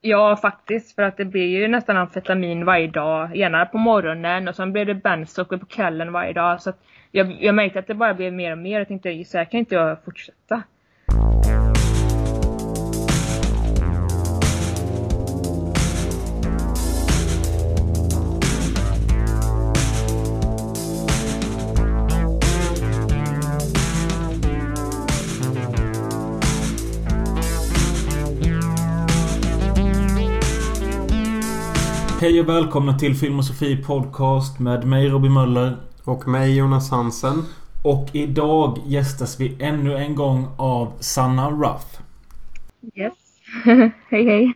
Ja, faktiskt. För att det blir ju nästan amfetamin varje dag. Gärna på morgonen och sen blir det bensocker på kvällen varje dag. Så att jag, jag märkte att det bara blev mer och mer. Jag tänkte så här kan inte jag fortsätta. Hej och välkomna till Filmosofi Podcast med mig Robin Möller. Och mig Jonas Hansen. Och idag gästas vi ännu en gång av Sanna Ruff. Yes. hej hej.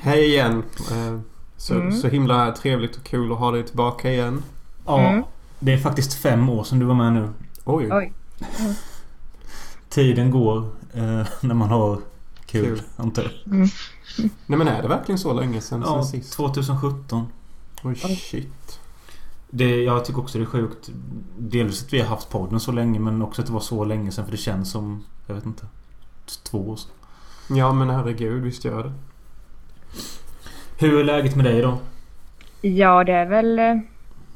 Hej igen. Eh, Så, så himla trevligt och kul att ha dig tillbaka igen. Ja, Mm. det är faktiskt fem år sedan du var med nu. Oj, Oj. Tiden går eh, när man har kul, Kul. antar jag. Nej men är det verkligen så länge sedan, Ja, sen sist? 2017. Oj shit. Det, jag tycker också det är sjukt. Delvis att vi har haft podden så länge men också att det var så länge sedan för det känns som, jag vet inte, två år sedan. Ja men herregud, visst gör det. Hur är läget med dig då? Ja, det är väl eh,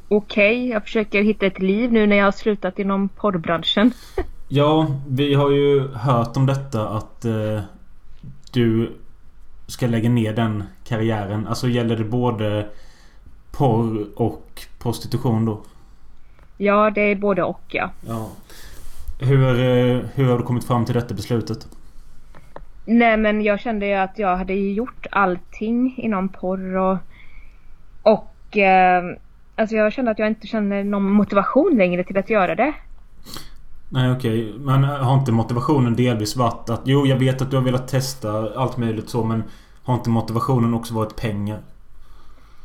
okej. Jag försöker hitta ett liv nu när jag har slutat inom porrbranschen. Ja, vi har ju hört om detta att eh, du ska lägga ner den karriären. Alltså gäller det både porr och prostitution då? Ja, det är både och ja. Ja. Hur, eh, hur har du kommit fram till detta beslutet? Nej men jag kände ju att jag hade ju gjort allting inom porr och... Och... Eh, alltså jag kände att jag inte känner någon motivation längre till att göra det. Nej okej, men har inte motivationen delvis varit att jo jag vet att du har velat testa allt möjligt så men har inte motivationen också varit pengar?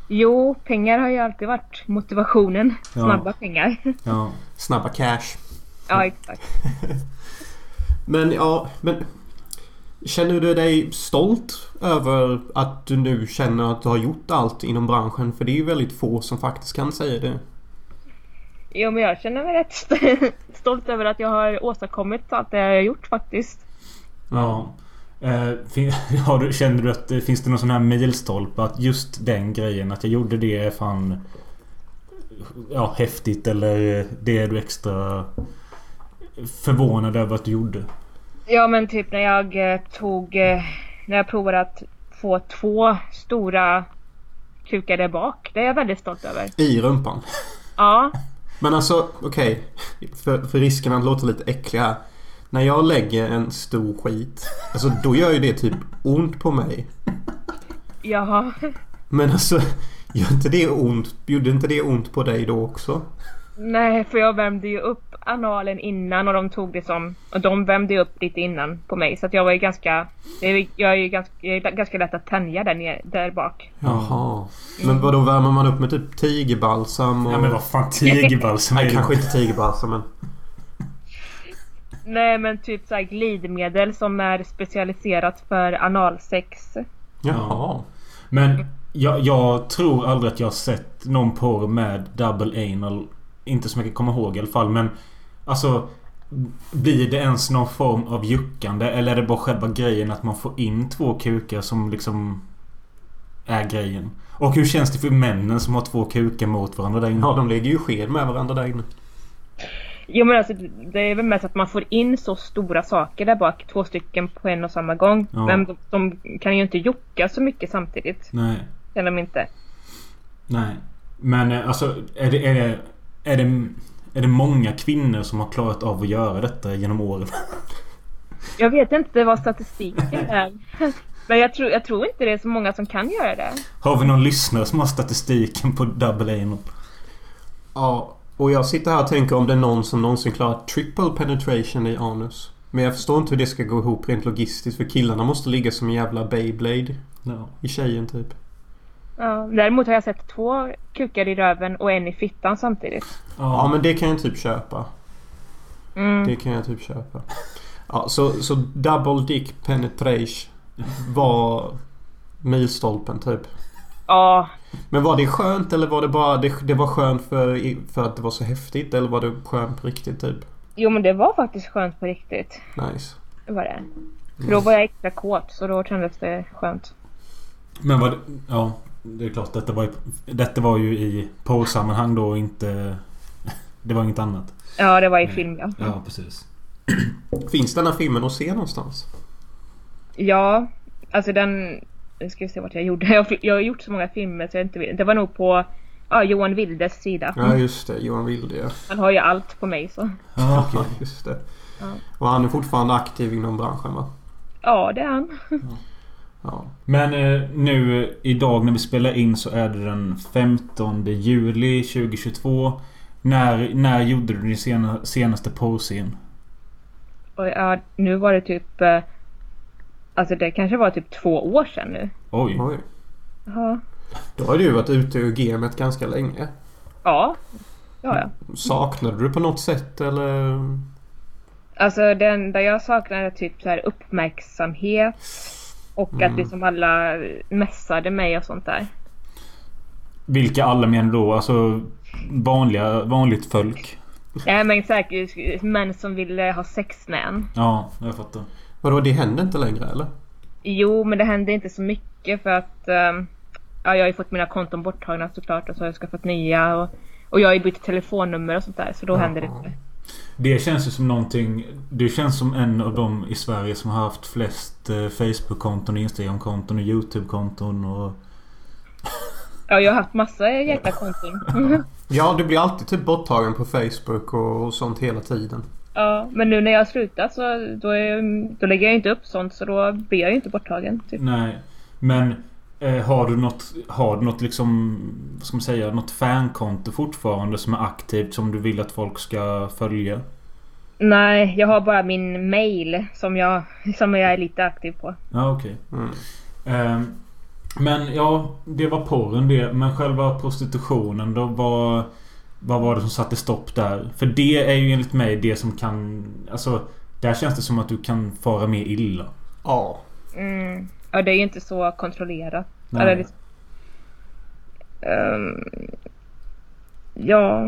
Jo, pengar har ju alltid varit motivationen. Ja. Snabba pengar. Ja. Snabba cash. ja, exakt. Men ja, men... Känner du dig stolt över att du nu känner att du har gjort allt inom branschen? För det är ju väldigt få som faktiskt kan säga det. Jo men jag känner mig rätt st- stolt över att jag har åstadkommit allt det jag har gjort faktiskt. Ja. Eh, fin- har du, känner du att det finns det någon sån här milstolpe att just den grejen att jag gjorde det är fan Ja häftigt eller eh, det är du extra förvånad över att du gjorde? Ja men typ när jag eh, tog... Eh, när jag provade att få två stora kukar där bak. Det är jag väldigt stolt över. I rumpan. Ja. Men alltså, okej. För, för risken att låta lite äcklig här. När jag lägger en stor skit, alltså då gör ju det typ ont på mig. Jaha. Men alltså, gör inte det ont? Gjorde inte det ont på dig då också? Nej, för jag värmde ju upp analen innan och de tog det som... Och de värmde ju upp lite innan på mig så att jag var ju ganska... det är- Jag är ju ganska, jag är ganska lätt att tänja där, nere, där bak. Jaha. Men vad då värmer man upp med typ tigerbalsam och... Ja men vad fan tigerbalsam är Nej, det? kanske inte tigerbalsam men... Nej, men typ så här glidmedel som är specialiserat för analsex. Jaha. Men jag, jag tror aldrig att jag har sett någon porr med double anal. Inte som jag kan komma ihåg i alla fall men Alltså Blir det ens någon form av juckande eller är det bara själva grejen att man får in två kukar som liksom Är grejen? Och hur känns det för männen som har två kukar mot varandra där inne? Ja, de ligger ju sked med varandra där inne. Jo men alltså det är väl mest att man får in så stora saker där bak, två stycken på en och samma gång. Ja. Men de, de kan ju inte jocka så mycket samtidigt. Nej Kan de inte. Nej Men eh, alltså är det, är det Är det Är det många kvinnor som har klarat av att göra detta genom åren? Jag vet inte vad statistiken är. Men jag tror, jag tror inte det är så många som kan göra det. Har vi någon lyssnare som har statistiken på double anal? Ja, och jag sitter här och tänker om det är någon som någonsin klarat triple penetration i anus. Men jag förstår inte hur det ska gå ihop rent logistiskt för killarna måste ligga som en jävla Beyblade Ja. i tjejen typ. Ja, däremot har jag sett två kukar i röven och en i fittan samtidigt. Ja, men det kan jag typ köpa. Mm. Det kan jag typ köpa. Ja, så, så double dick penetration var milstolpen typ. Ja, Men var det skönt eller var det bara det, det var skönt för, för att det var så häftigt eller var det skönt på riktigt typ? jo men det var faktiskt skönt på riktigt. Nice. Det var det. För då var jag extra kåt så då kändes det skönt. Men vad... Ja. Det är klart. Detta var ju, detta var ju i porrsammanhang då och inte... Det var inget annat. Ja, det var i film ja. Ja, precis. Finns den här filmen att se någonstans? Ja, alltså den... Nu ska vi se vart jag gjorde. Jag, har- jag har gjort så många filmer så jag inte vet. Det var nog på ja, Johan Wildes sida. Ja, just det. Johan Wilde ja. Han har ju allt på mig så. Ja, Ja, just det. Ja. Och han är fortfarande aktiv inom branschen va? Ja, det är han. Ja. Men eh, nu eh, idag när vi spelar in så är det den 15 juli 2022. När, när gjorde du din sena, senaste porrscen? Och ja, nu var det typ... eh, Alltså det kanske var typ två år sedan nu. Oj. Oj. Ja. Då har du varit ute ur gamet ganska länge. Ja. Ja, ja. Saknade du på något sätt eller? Alltså det enda jag saknar är typ så här uppmärksamhet. Och att liksom alla mässade mig och sånt där. Vilka alla menar då? Alltså vanliga, vanligt folk? Nej men säkert män som ville ha sex med en. Ja, jag fattar. Vadå, det händer inte längre eller? Jo, men det hände inte så mycket för att ehm, ja, jag har ju fått mina konton borttagna såklart och så har jag skaffat nya och, och jag har ju bytt telefonnummer och sånt där så då händer det inte. Det känns ju som någonting... Du känns som en av dem i Sverige som har haft flest eh, Facebook-konton, Instagram-konton och YouTube-konton och... Ja, jag har haft massa jäkla konton. Ja, du blir alltid typ borttagen på Facebook och, och sånt hela tiden. ja, men nu när jag har slutat så då, är, då lägger jag inte upp sånt så då blir jag ju inte borttagen. Typ. Nej. Men eh, har du något, har du något liksom, vad ska man säga, något fankonto fortfarande som är aktivt som du vill att folk ska följa? Nej, jag har bara min mail som jag, som jag är lite aktiv på. Ja, okej. Mm. Ehm, men ja, det var porren det. Men själva prostitutionen då? Vad, vad var det som satte stopp där? För det är ju enligt mig det som kan... Alltså, där känns det som att du kan fara mer illa. Ja. Mm. Ja, det är ju inte så kontrollerat. Nej. Eller liksom, Ehm, ja.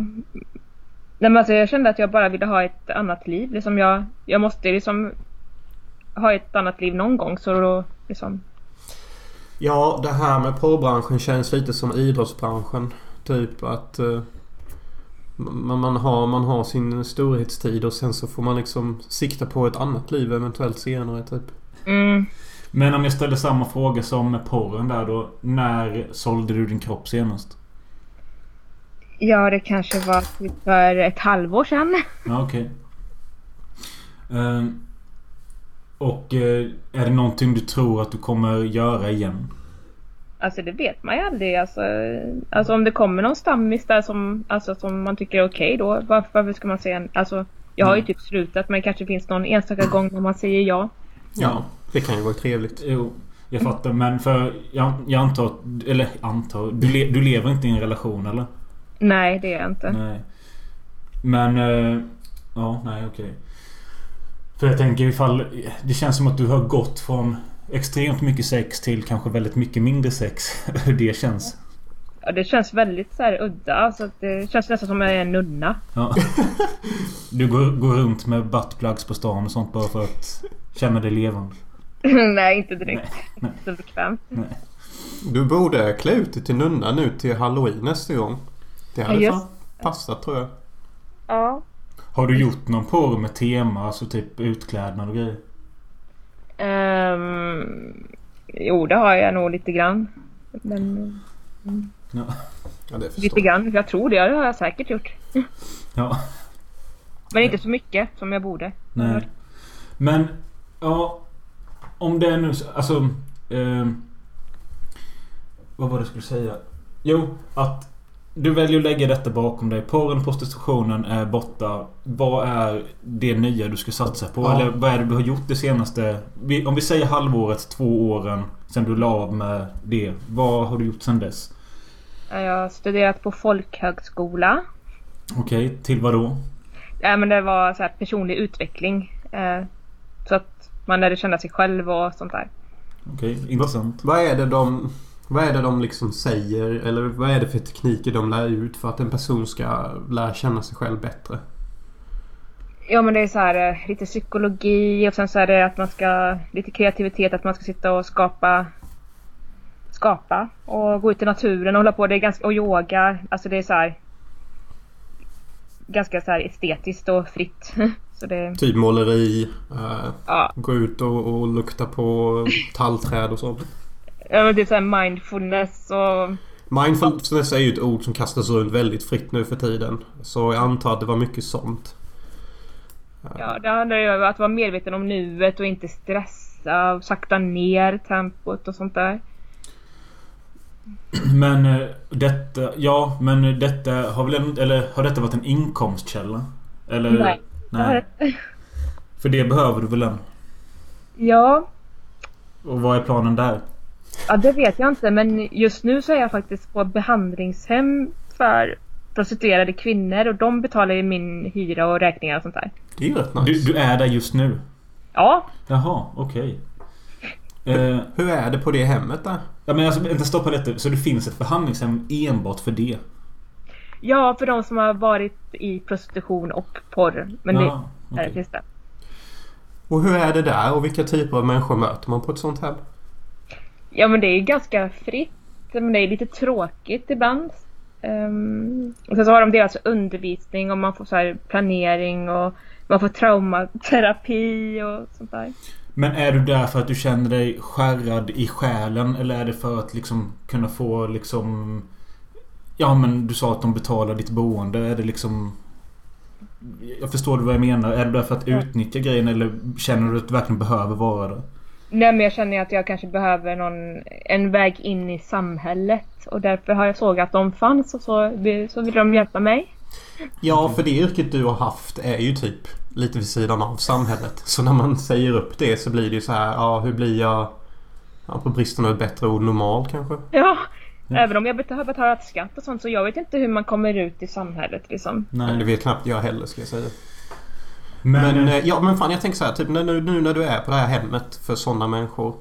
Nej, men alltså, jag kände att jag bara ville ha ett annat liv. Liksom jag, jag måste liksom ha ett annat liv någon gång. Så då, liksom, Ja, det här med porrbranschen känns lite som idrottsbranschen. Typ att eh, man, man, har, man har sin storhetstid och sen så får man liksom sikta på ett annat liv eventuellt senare typ. mm, Men om jag ställer samma fråga som med porren där då. När sålde du din kropp senast? ja, det kanske var typ för ett halvår sedan. Ja, okej. Ehm, och eh, är det någonting du tror att du kommer göra igen? Alltså det vet man ju aldrig. Alltså, alltså om det kommer någon stammis där som, alltså, som man tycker är okej då. Varför, varför ska man säga en, alltså, Jag har ju typ slutat men det kanske finns någon enstaka gång när man säger ja. Ja, det kan ju vara trevligt. Jo, jag fattar. Men för jag, jag antar... att- Eller antar... Du, le, du lever inte i en relation eller? Nej det är jag inte. Nej. Men... eh, ja, nej okej. För jag tänker ifall... Det känns som att du har gått från extremt mycket sex till kanske väldigt mycket mindre sex. Hur det känns. Ja, det känns väldigt så här udda. Alltså, det känns nästan som att jag är en nunna. Ja. Du går, går runt med buttplugs på stan och sånt bara för att känna dig levande. Nej inte direkt. Inte så bekvämt. Du borde klä ut dig till nunna nu till halloween nästa gång. Det hade Ja, fan just- passat tror jag. Ja. Har du gjort någon porr med tema? Alltså typ utklädnad och grejer? Ehm, jo det har jag nog lite grann. Men, Ja, det lite förstår jag. grann. Jag tror det. Det har jag säkert gjort. Ja. Men inte så mycket som jag borde. Nej. Men, ja. Om det är nu... så- Alltså... Eh, vad var det jag skulle säga? Jo, att du väljer att lägga detta bakom dig. Porren, prostitutionen är borta. Vad är det nya du ska satsa på? Ja. Eller vad är det du har gjort det senaste... vi- Om vi säger halvåret, två åren sen du la av med det. Vad har du gjort sen dess? Eh, Jag har studerat på folkhögskola. Okej, till vad då? Äh, men det var så här personlig utveckling. Eh, så att man lärde känna sig själv och sånt där. Okej, intressant. Vad är det de... Vad är det de liksom säger eller vad är det för tekniker de lär ut för att en person ska lära känna sig själv bättre? Ja men det är så här eh, lite psykologi och sen så är det att man ska lite kreativitet, att man ska sitta och skapa skapa och gå ut i naturen och hålla på. Det är ganska, och yoga. Alltså det är så här. Ganska så här estetiskt och fritt. Så det, Typ måleri. Eh, ja. gå ut och, och lukta på tallträd och sånt. Ja men typ såhär mindfulness och... Mindfulness är ju ett ord som kastas runt väldigt fritt nu för tiden. Så jag antar att det var mycket sånt. Ja det handlar ju om att vara medveten om nuet och inte stressa och sakta ner tempot och sånt där. Men eh, detta... Ja, men detta har väl... en- Eller har detta varit en inkomstkälla? Eller? Nej. Nej. För det behöver du väl en? Ja, Och vad är planen där? ja det vet jag inte men just nu så är jag faktiskt på behandlingshem för prostituerade kvinnor och de betalar ju min hyra och räkningar och sånt där. Det är ju rätt nice. Du, du är där just nu? Ja, Jaha, okej. Eh, Hur är det på det hemmet där? ja men alltså, vänta stoppa detta. Så det finns ett behandlingshem enbart för det? ja för de som har varit i prostitution och porr. Men det, Ja, där Ah, okej. finns det. Och hur är det där och vilka typer av människor möter man på ett sånt hem? Ja men det är ganska fritt. Men det är lite tråkigt ibland. Ehm, och sen så har de deras undervisning och man får så här planering och man får traumaterapi och sånt där. Men är du där för att du känner dig skärrad i själen eller är det för att liksom kunna få liksom... Ja men du sa att de betalar ditt boende. Är det liksom... Jag förstår vad jag menar. Är du där för att Ja. utnyttja grejen eller känner du att du verkligen behöver vara där? Nej men jag känner att jag kanske behöver någon, en väg in i samhället och därför har jag såg att de fanns och så, vill- så ville de hjälpa mig. Ja, för det yrket du har haft är ju typ lite vid sidan av samhället. Så när man säger upp det så blir det ju så här, ja hur blir jag... Ja, på bristen av ett bättre ord, normal kanske? Ja, Ja. även om jag bet- har betalat skatt och sånt så jag vet inte hur man kommer ut i samhället liksom. Nej. Det vet knappt jag heller ska jag säga. Men, Men, eh, ja, men fan jag tänker så här, typ när, nu, nu när du är på det här hemmet för sådana människor.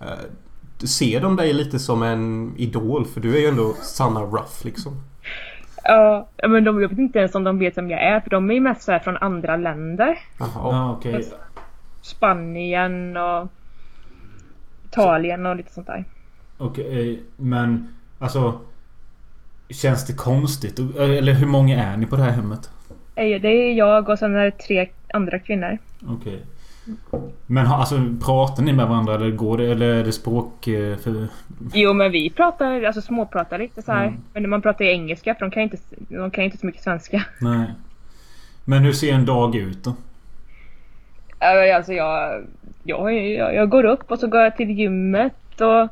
Eh, ser de dig lite som en idol? För du är ju ändå Sanna Ruff liksom. Ja, men de jag vet inte ens om de vet vem jag är för de är ju mest så här från andra länder. Jaha. Ja, okej. Spanien och Italien och lite sånt där. Okej, eh, men alltså... Känns det konstigt? Eller hur många är ni på det här hemmet? Eh, Det är jag och sen är det tre andra kvinnor. Okej. Men har- alltså, pratar ni med varandra eller går det? Eller är det språk... eh, För... Jo men vi pratar, alltså småpratar lite så här. Mm. Men man pratar ju engelska för de kan ju inte, de kan ju inte så mycket svenska. Nej. Men hur ser en dag ut då? Ja, men Alltså jag, jag, jag, jag går upp och så går jag till gymmet och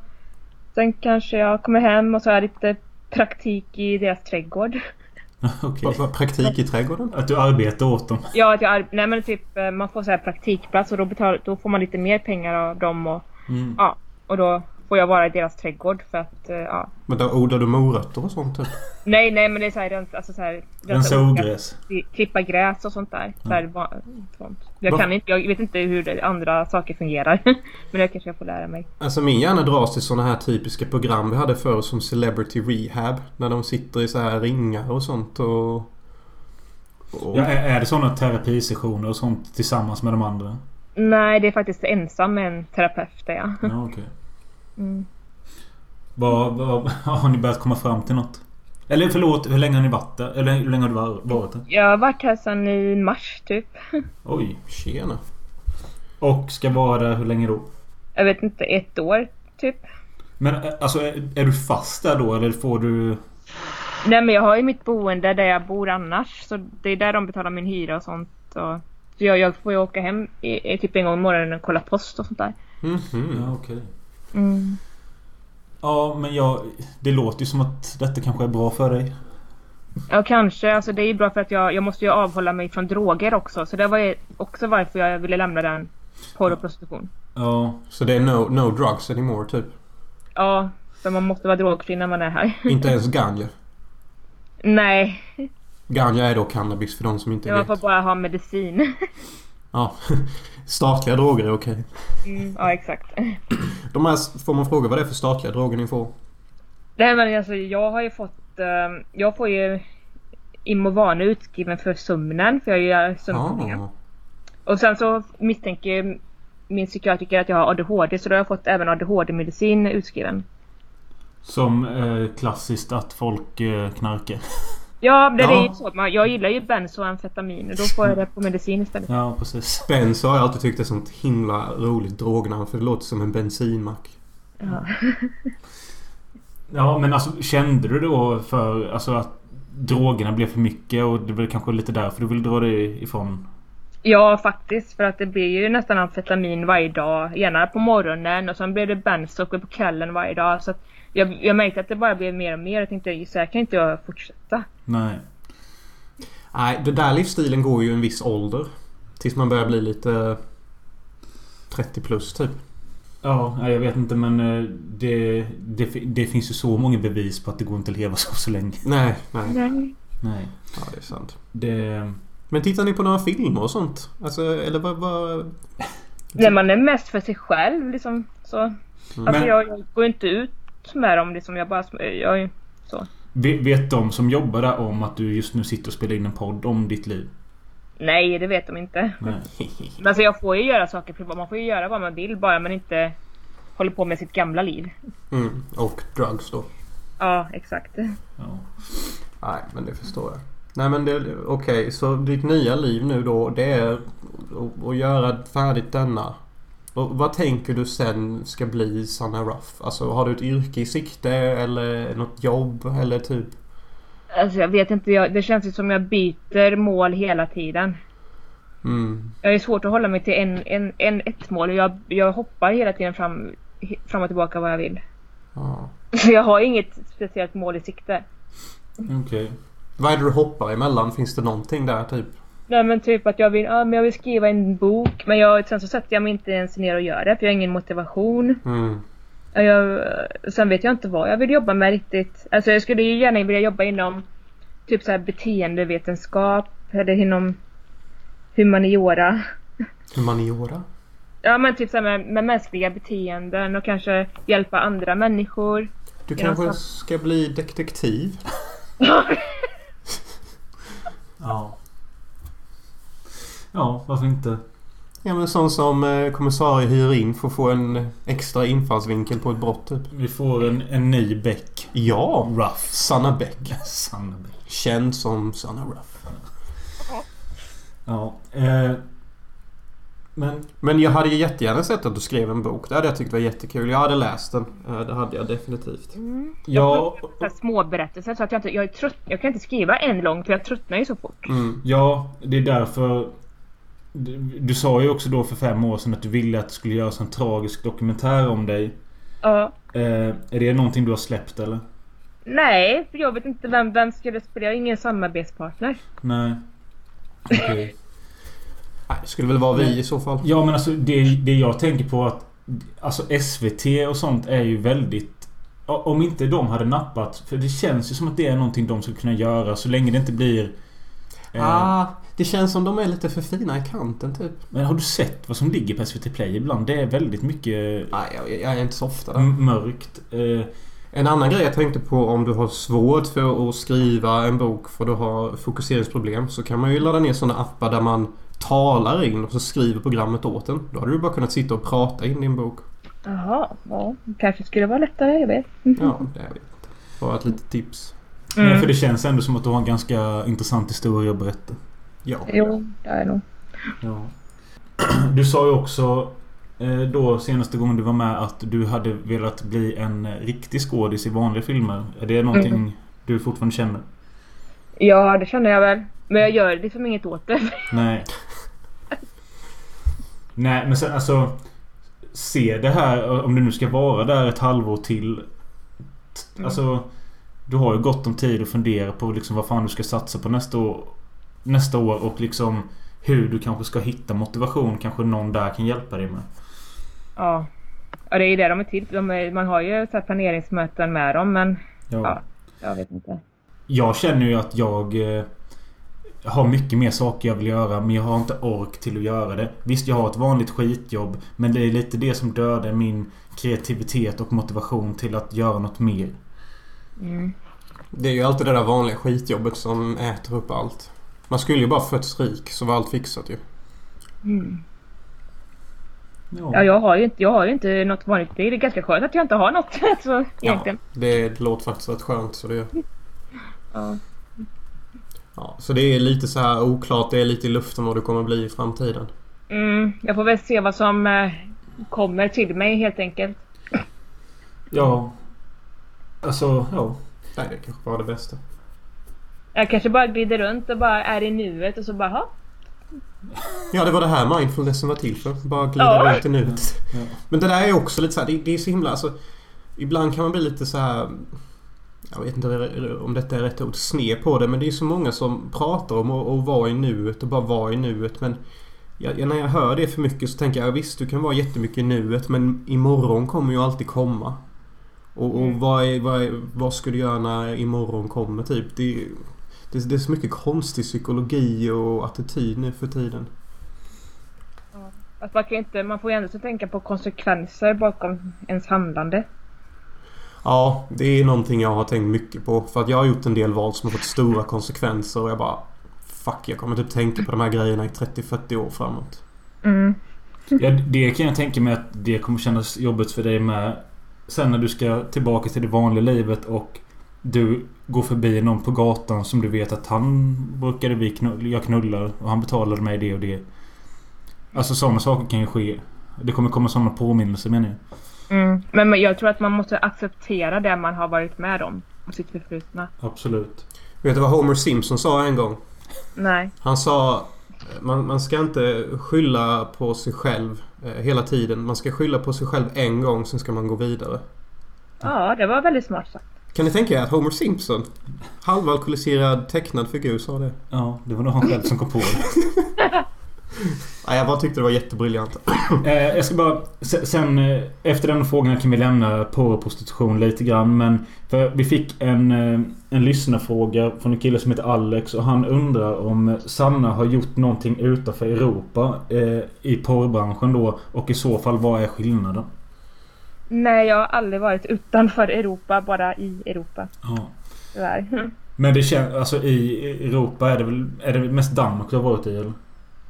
sen kanske jag kommer hem och så har jag lite praktik i deras trädgård. Okej. Vad- vad, Praktik i trädgården? Att du arbetar åt dem? Ja, att jag, ar- nej men typ eh, man får så här praktikplats och då, betal, då får man lite mer pengar av dem och Mm. Ja, och då får jag vara i deras trädgård för att, eh, ja. Men då odlar du morötter och sånt typ? Nej, nej men det är såhär, rens, alltså såhär. Rensa ogräs? Klippa gräs och sånt där. Så här, va- sånt. Jag, Va- kan inte, jag vet inte hur det, andra saker fungerar. men det kanske jag får lära mig. Alltså min hjärna dras till såna här typiska program vi hade förr som Celebrity Rehab. När de sitter i så här ringar och sånt och... och Ja, är är det sådana terapisessioner och sånt tillsammans med de andra? Nej, det är faktiskt ensam med en terapeut där ja. Ja, okej. Mm. Vad, vad, har ni börjat komma fram till något? Eller förlåt, hur länge har ni varit där? Eller hur länge har du var- varit där? Jag har varit här sedan i mars typ. Oj. Tjena. Och ska vara där hur länge då? Jag vet inte, ett år typ. Men eh, alltså är, är du fast där då eller får du... Nej men jag har ju mitt boende där jag bor annars. Så det är där de betalar min hyra och sånt. Och, så jag, jag får ju åka hem i, i, typ en gång i morgonen och kolla post och sånt där. Mhm. Ja okej. Mm. Ja men jag... Det låter ju som att detta kanske är bra för dig. Ja kanske, alltså det är ju bra för att jag, jag måste ju avhålla mig från droger också. Så det var ju också varför jag ville lämna den porr och prostitution. Ja. Så det är no, no drugs anymore typ? Ja, för man måste vara drogfri när man är här. Inte ens ganja? Nej, Ganja är då cannabis för de som inte man vet. får bara ha medicin. Ja. Statliga droger är okej. Mm, ja exakt. De här, får man fråga vad det är för statliga droger ni får? Nej men alltså jag har ju fått, eh, jag får ju Imovane utskriven för sömnen för jag gör sömnproblem. Ah. Och sen så misstänker ju min psykiatriker att jag har ADHD så då har jag fått även ADHD-medicin utskriven. Som eh, klassiskt att folk eh, knarkar. Ja, det är Ja. ju så. Man- Jag gillar ju benzoamfetamin och då får jag det på medicin istället. Ja, precis. Benzo har jag alltid tyckt är sånt himla roligt drognamn för det låter som en bensinmack. Ja. Ja, men alltså kände du då för alltså, att drogerna blev för mycket och det var kanske lite därför du ville dra dig ifrån? ja, faktiskt. För att det blir ju nästan amfetamin varje dag. Gärna på morgonen och sen blir det benzo på kvällen varje dag. Så att jag, jag märkte att det bara blev mer och mer. Jag tänkte så här kan inte jag fortsätta. Nej. Nej, den där livsstilen går ju en viss ålder. Tills man börjar bli lite 30 plus typ. Ja, nej, jag vet inte men eh, det, det, fi- det finns ju så många bevis på att det går inte att leva så, så länge. Nej, nej. Nej. Ja, det är sant. Det... Men tittar ni på några filmer och sånt? Alltså, eller vad... vad... När man är mest för sig själv liksom. Så. Alltså Men- jag, jag går inte ut med dem liksom. Jag bara... Jag, så. Ve- Vet de som jobbar där om att du just nu sitter och spelar in en podd om ditt liv? Nej, det vet de inte. Nej. Men alltså jag får ju göra saker privat. Man får ju göra vad man vill bara man inte håller på med sitt gamla liv. Mm, och drugs då. Ja, exakt. Ja. Nej, men det förstår jag. Nej, men det... Okej, så ditt nya liv nu då, det är att- att göra färdigt denna. Och vad tänker du sen ska bli Sanna Ruff? Alltså, har du ett yrke i sikte eller något jobb eller typ... Alltså jag vet inte, jag, det känns ju som jag byter mål hela tiden. Mm. Jag är svårt att hålla mig till en, en, en, ett mål. Jag, jag hoppar hela tiden fram, he- fram och tillbaka vad jag vill. Ja. Så jag har inget speciellt mål i sikte. Okej. Vad är det du hoppar emellan? Finns det någonting där typ? Nej men typ att jag vill, ja, men jag vill skriva en bok men jag, sen så sätter jag mig inte ens ner och gör det för jag har ingen motivation. Mm. Ja, Jag, sen vet jag inte vad jag vill jobba med riktigt. Alltså jag skulle ju gärna vilja jobba inom typ så här beteendevetenskap eller inom humaniora. Humaniora? Ja men typ så här med, med mänskliga beteenden och kanske hjälpa andra människor. Du Ja, kanske sant. ska bli detektiv? Ja. Ja, varför inte? Ja men sån som eh, kommissarie hyr in för att få en extra infallsvinkel på ett brott typ. Vi får en, en ny bäck. Ja! Ruff. Sanna Bäck. Sanna bäck. Känd som Sanna Ruff. Ja. Eh, men Men jag hade ju jättegärna sett att du skrev en bok. Det hade jag tyckt var jättekul. Jag hade läst den. Eh, Det hade jag definitivt. Mm. jag... Så här små berättelser så att jag inte, jag är trött, jag kan inte skriva en lång för jag tröttnar ju så fort. Mm. Ja, det är därför... Du, du sa ju också då för fem år sedan att du ville att det skulle göras en tragisk dokumentär om dig. Ja. Eh, är det någonting du har släppt eller? Nej, för jag vet inte vem, vem skulle spela, jag har ingen samarbetspartner. Nej. Okej. Nej, det skulle väl vara vi i så fall. Ja men alltså det, det jag tänker på att Alltså SVT och sånt är ju väldigt o- Om inte de hade nappat För det känns ju som att det är någonting de skulle kunna göra så länge det inte blir eh, Ah, det känns som de är lite för fina i kanten typ. Men har du sett vad som ligger på SVT Play ibland? Det är väldigt mycket eh, Nej, jag, jag är inte så ofta där. m- mörkt eh, En annan grej jag tänkte på om du har svårt för att skriva en bok för du har fokuseringsproblem så kan man ju ladda ner sådana appar där man talar in och så skriver programmet åt en. Då hade du bara kunnat sitta och prata in din bok. Jaha, ja. Kanske skulle vara lättare, jag vet. Ja, det vet jag inte. Bara ett litet tips. Nej, Mm. För det känns ändå som att du har en ganska intressant historia att berätta Ja. Jo, det är nog. Ja. Du sa ju också eh, då senaste gången du var med att du hade velat bli en eh, riktig skådis i vanliga filmer. Är det någonting du fortfarande känner? Ja, det känner jag väl. Men jag gör liksom inget åt det. Nej. Nej, men sen alltså. Se det här, om du nu ska vara där ett halvår till. t- Mm. Alltså. Du har ju gott om tid att fundera på liksom vad fan du ska satsa på nästa år. Nästa år och liksom hur du kanske ska hitta motivation. Kanske någon där kan hjälpa dig med. Ja. ja, det är ju det de är till de är, Man har ju så här planeringsmöten med dem, men Ja. jag vet inte. Jag känner ju att jag eh, har mycket mer saker jag vill göra men jag har inte ork till att göra det. Visst, jag har ett vanligt skitjobb men det är lite det som dödar min kreativitet och motivation till att göra något mer. Mm. Det är ju alltid det där vanliga skitjobbet som äter upp allt. Man skulle ju bara fötts rik så var allt fixat ju. Mm. Ja, jag har ju inte, jag har ju inte något vanligt. Det är ganska skönt att jag inte har något. Så, egentligen. det låter faktiskt rätt skönt så det... Ja. Ja, så det är lite så här oklart. Det är lite i luften vad du kommer bli i framtiden. Mm, jag får väl se vad som eh, kommer till mig helt enkelt. Ja. Alltså, ja. Nej, det kanske bara är det bästa. Jag kanske bara glider runt och bara är i nuet och så bara ha. Ja, det var det här mindfulnessen var till för. Bara glida Ja. runt i nuet. Ja. Men det där är också lite så här, det, det är så himla alltså, Ibland kan man bli lite så här Jag vet inte om detta är rätt ord, sned på det men det är så många som pratar om att, att vara i nuet och bara vara i nuet men jag, jag- när jag hör det för mycket så tänker jag visst du kan vara jättemycket i nuet men imorgon kommer ju alltid komma. Och, och Mm. vad, är, vad, är, vad ska du göra när imorgon kommer typ? Det, det, det är så mycket konstig psykologi och attityd nu för tiden. Att man, kan ju inte, man får ju ändå så tänka på konsekvenser bakom ens handlande. Ja, det är någonting jag har tänkt mycket på. För att jag har gjort en del val som har fått stora konsekvenser och jag bara... Fuck, jag kommer typ tänka på de här grejerna i 30-40 år framåt. Mm. Ja, det kan jag tänka mig att det kommer kännas jobbigt för dig med. Sen när du ska tillbaka till det vanliga livet och du går förbi någon på gatan som du vet att han brukade vi knull, jag knullar och han betalade mig det och det. Alltså sådana saker kan ju ske. Det kommer komma sådana påminnelser menar jag. Mm. Men men jag tror att man måste acceptera det man har varit med om. Och sitt förflutna. Absolut. Vet du vad Homer Simpson sa en gång? Nej. Han sa... eh, Man, man ska inte skylla på sig själv eh, hela tiden. Man ska skylla på sig själv en gång, sen ska man gå vidare. Ja, det var väldigt smart sagt. Kan ni tänka er att Homer Simpson, halvalkoholiserad tecknad figur, sa det? Ja, det var nog han själv som kom på det. Nej, jag bara tyckte det var jättebriljant. Eh, jag ska bara... se- Sen eh, efter den frågan kan vi lämna porr och prostitution lite grann. Men för vi fick en, eh, en lyssnarfråga från en kille som heter Alex. Och han undrar om eh, Sanna har gjort någonting utanför Europa eh, i porrbranschen då. Och i så fall, vad är skillnaden? Nej, jag har aldrig varit utanför Europa, bara i Europa. Ja. Tyvärr. Men det känns... Alltså i Europa är det väl... Är det mest Danmark du har varit i eller?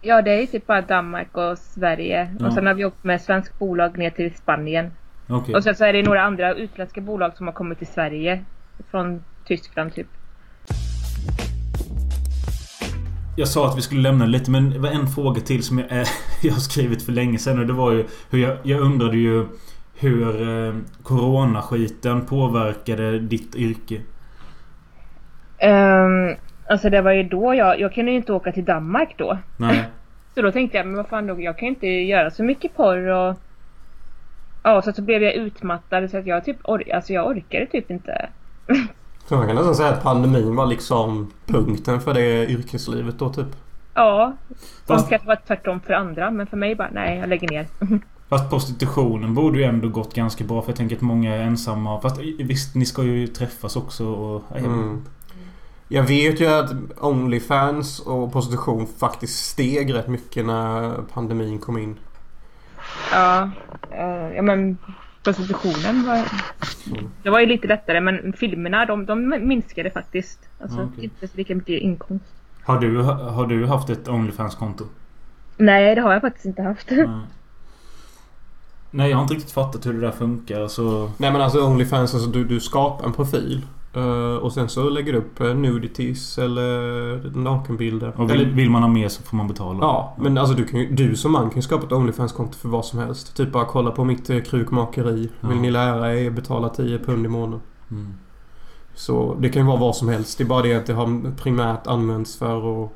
Ja, det är ju typ bara Danmark och Sverige. Ja. Och sen har vi åkt med svensk bolag ner till Spanien. Okej. Och sen så är det några andra utländska bolag som har kommit till Sverige. Från Tyskland typ. Jag sa att vi skulle lämna lite men det var en fråga till som jag, eh, jag har skrivit för länge sedan och det var ju hur jag, jag undrade ju hur eh, coronaskiten påverkade ditt yrke. Ehm, alltså det var ju då jag, jag kunde ju inte åka till Danmark då. Nej. Så då tänkte jag, men vad fan då, jag kan ju inte göra så mycket porr och... Ja, så, så blev jag utmattad så att jag typ or- alltså jag orkade typ inte. Så man kan nästan säga att pandemin var liksom punkten för det yrkeslivet då typ. Ja, som Fast- kanske var tvärtom för andra, men för mig bara nej, jag lägger ner. Fast prostitutionen borde ju ändå gått ganska bra för jag tänker att många är ensamma. Fast eh, visst, ni ska ju träffas också och... Nej, jag- Mm. Jag vet ju att Onlyfans och prostitution faktiskt steg rätt mycket när pandemin kom in. Ja, eh, ja men prostitutionen var... Det var ju lite lättare, men filmerna de, de minskade faktiskt. Alltså Ja, Ah, okej. inte så lika mycket inkomst. Har, du, har du haft ett Onlyfans-konto? Nej, det har jag faktiskt inte haft. Nej. Nej, jag har inte riktigt fattat hur det där funkar. Alltså, Nej men alltså Onlyfans, alltså du, du skapar en profil. eh, och sen så lägger du upp eh, nudities eller nakenbilder. och vill, Eller, vill man ha mer så får man betala. ja, men alltså du, kan ju, du som man kan ju skapa ett Onlyfans-konto för vad som helst. Typ bara kolla på mitt eh, krukmakeri. Ja. Vill ni lära er betala 10 pund i månaden. Mm. Så det kan ju vara vad som helst. Det är bara det att det har primärt använts för att...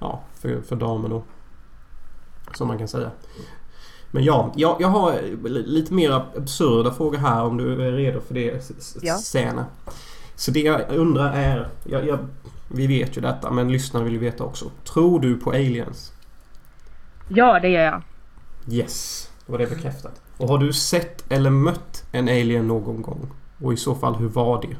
Ja, för, för damer då. Som man kan säga. Men ja, jag, jag har lite mer absurda frågor här om du är redo för det s- s- Ja. Sena. Så det jag undrar är... Jag, jag, vi vet ju detta men lyssnarna vill ju veta också. Tror du på aliens? Ja, det gör jag. Yes, då var det bekräftat. Och har du sett eller mött en alien någon gång? Och i så fall, hur var det?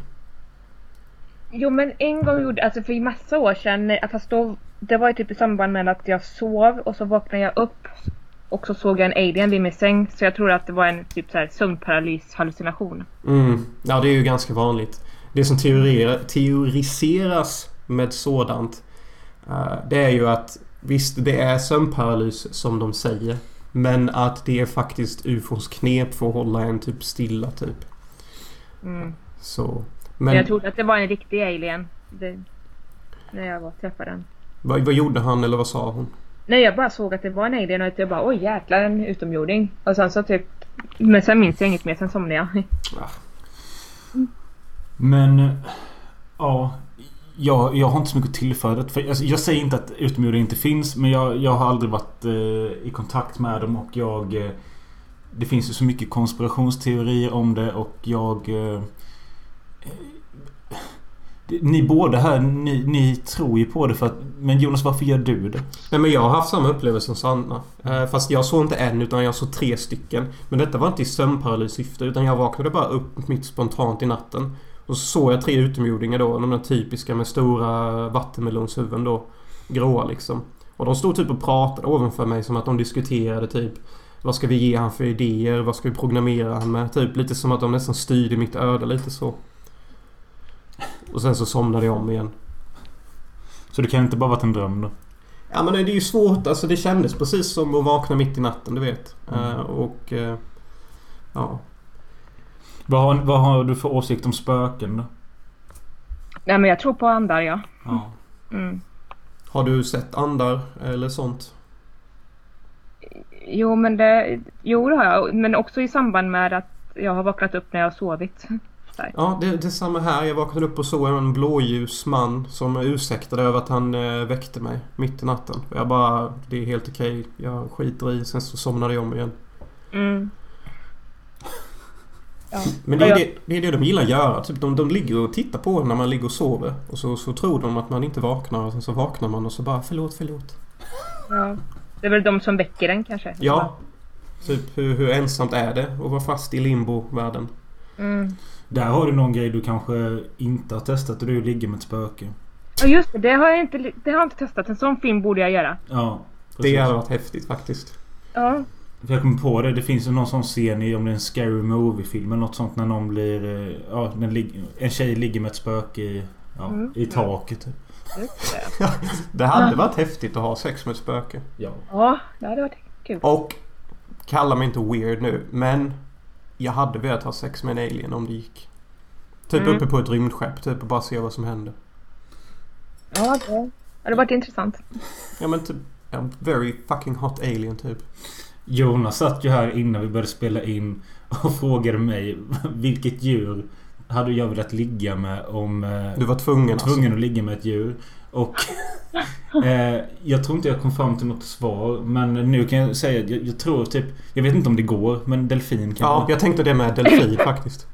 Jo men en gång gjorde, alltså för massa år sedan, eh, fast då, det var ju typ i samband med att jag sov och så vaknade jag upp och så såg jag en alien vid min säng så jag tror att det var en typ så här sömnparalyshallucination. Mm. Ja, det är ju ganska vanligt. Det som teorier- teoriseras med sådant eh, det är ju att visst, det är sömnparalys som de säger. Men att det är faktiskt ufons knep för att hålla en typ stilla typ. Mm. Så. Men... Jag Men trodde att det var en riktig alien. Det... När jag var, träffade den. vad, vad gjorde han eller vad sa hon? Nej jag bara såg att det var en alien och att jag bara oj jäklar en utomjording. Och sen så typ Men sen minns jag inget mer, sen somnade jag. Men... eh, Ja. Jag, jag har inte så mycket tillföret. För alltså, jag, jag säger inte att utomjordingar inte finns. Men jag, jag har aldrig varit eh, i kontakt med dem och jag... Eh, det finns ju så mycket konspirationsteorier om det och jag... Eh, eh, det- ni båda här, ni, ni tror ju på det för att... Men Jonas, varför gör du det? Nej men jag har haft samma upplevelse som Sanna. Eh, Fast jag såg inte en utan jag såg tre stycken. Men detta var inte i sömnparalyssyfte utan jag vaknade bara upp mitt spontant i natten. Och så såg jag tre utomjordingar då. De där typiska med stora vattenmelonshuvuden då. Gråa liksom. Och de stod typ och pratade ovanför mig som att de diskuterade typ vad ska vi ge han för idéer? Vad ska vi programmera han med? Typ lite som att de nästan styrde mitt öde lite så. Och sen så somnade jag om igen. Så det kan inte bara varit en dröm då? Ja men det är ju svårt. Alltså det kändes precis som att vakna mitt i natten, du vet. Mm. Eh, och... eh, ja. Vad har, vad har du för åsikt om spöken då? Nej men jag tror på andar ja. Ja. Mm. Har du sett andar eller sånt? Jo men det, jo det har jag. Men också i samband med att jag har vaknat upp när jag har sovit. Ja, det, det är samma här. Jag vaknade upp och såg en blåljus man som ursäktade över att han eh, väckte mig mitt i natten. Och Jag bara, det är helt okej. Jag skiter i. Sen så somnade jag om igen. Mm. Ja. Men det är, Ja, det, det, är det de gillar att göra. Typ de, de ligger och tittar på en när man ligger och sover. Och så, så tror de att man inte vaknar. Och sen så vaknar man och så bara, förlåt, förlåt. Ja. Det är väl de som väcker den kanske? Ja. Typ hur, hur ensamt är det att vara fast i limbo-världen? Mm. Där har du någon grej du kanske inte har testat och du ligger med ett spöke. Och just det, det har jag inte, det har jag inte testat. En sån film borde jag göra. Ja. Det precis. hade varit häftigt faktiskt. Ja. För jag kommer på det. Det finns ju någon sån scen i om det är en scary movie-film eller något sånt när någon blir... eh, Ja, den lig- en tjej ligger med ett spöke i, ja, Mm. i taket. typ. just det. Det hade varit häftigt att ha sex med ett spöke. Ja. Ja, det hade varit kul. Och, kalla mig inte weird nu, men jag hade velat ha sex med en alien om det gick. Typ Mm. uppe på ett rymdskepp, typ och bara se vad som händer. Ja, det det hade varit intressant. Ja men typ, ja, very fucking hot alien typ. Jonas satt ju här innan vi började spela in och frågade mig vilket djur hade jag velat ligga med om... eh, Du var tvungen alltså. tvungen att ligga med ett djur. Och eh, jag tror inte jag kom fram till något svar. Men nu kan jag säga att jag, jag tror typ... Jag vet inte om det går, men delfin kanske. Ja, jag tänkte det med delfin faktiskt.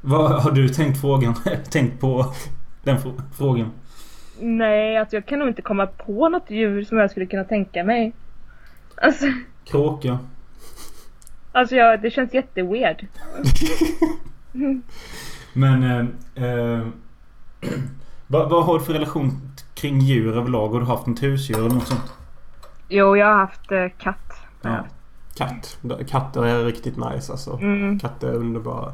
Vad har du tänkt frågan? tänkt på den fr- frågan? Nej, alltså jag kan nog inte komma på något djur som jag skulle kunna tänka mig. Alltså, Kråka. alltså jag, det känns jätteweird. Men... Eh, eh, vad, vad har du för relation kring djur överlag? Har du haft något husdjur eller något sånt? Jo, jag har haft eh, katt. Ja. Katt. Katter är riktigt nice alltså. Mm. Katter är underbara.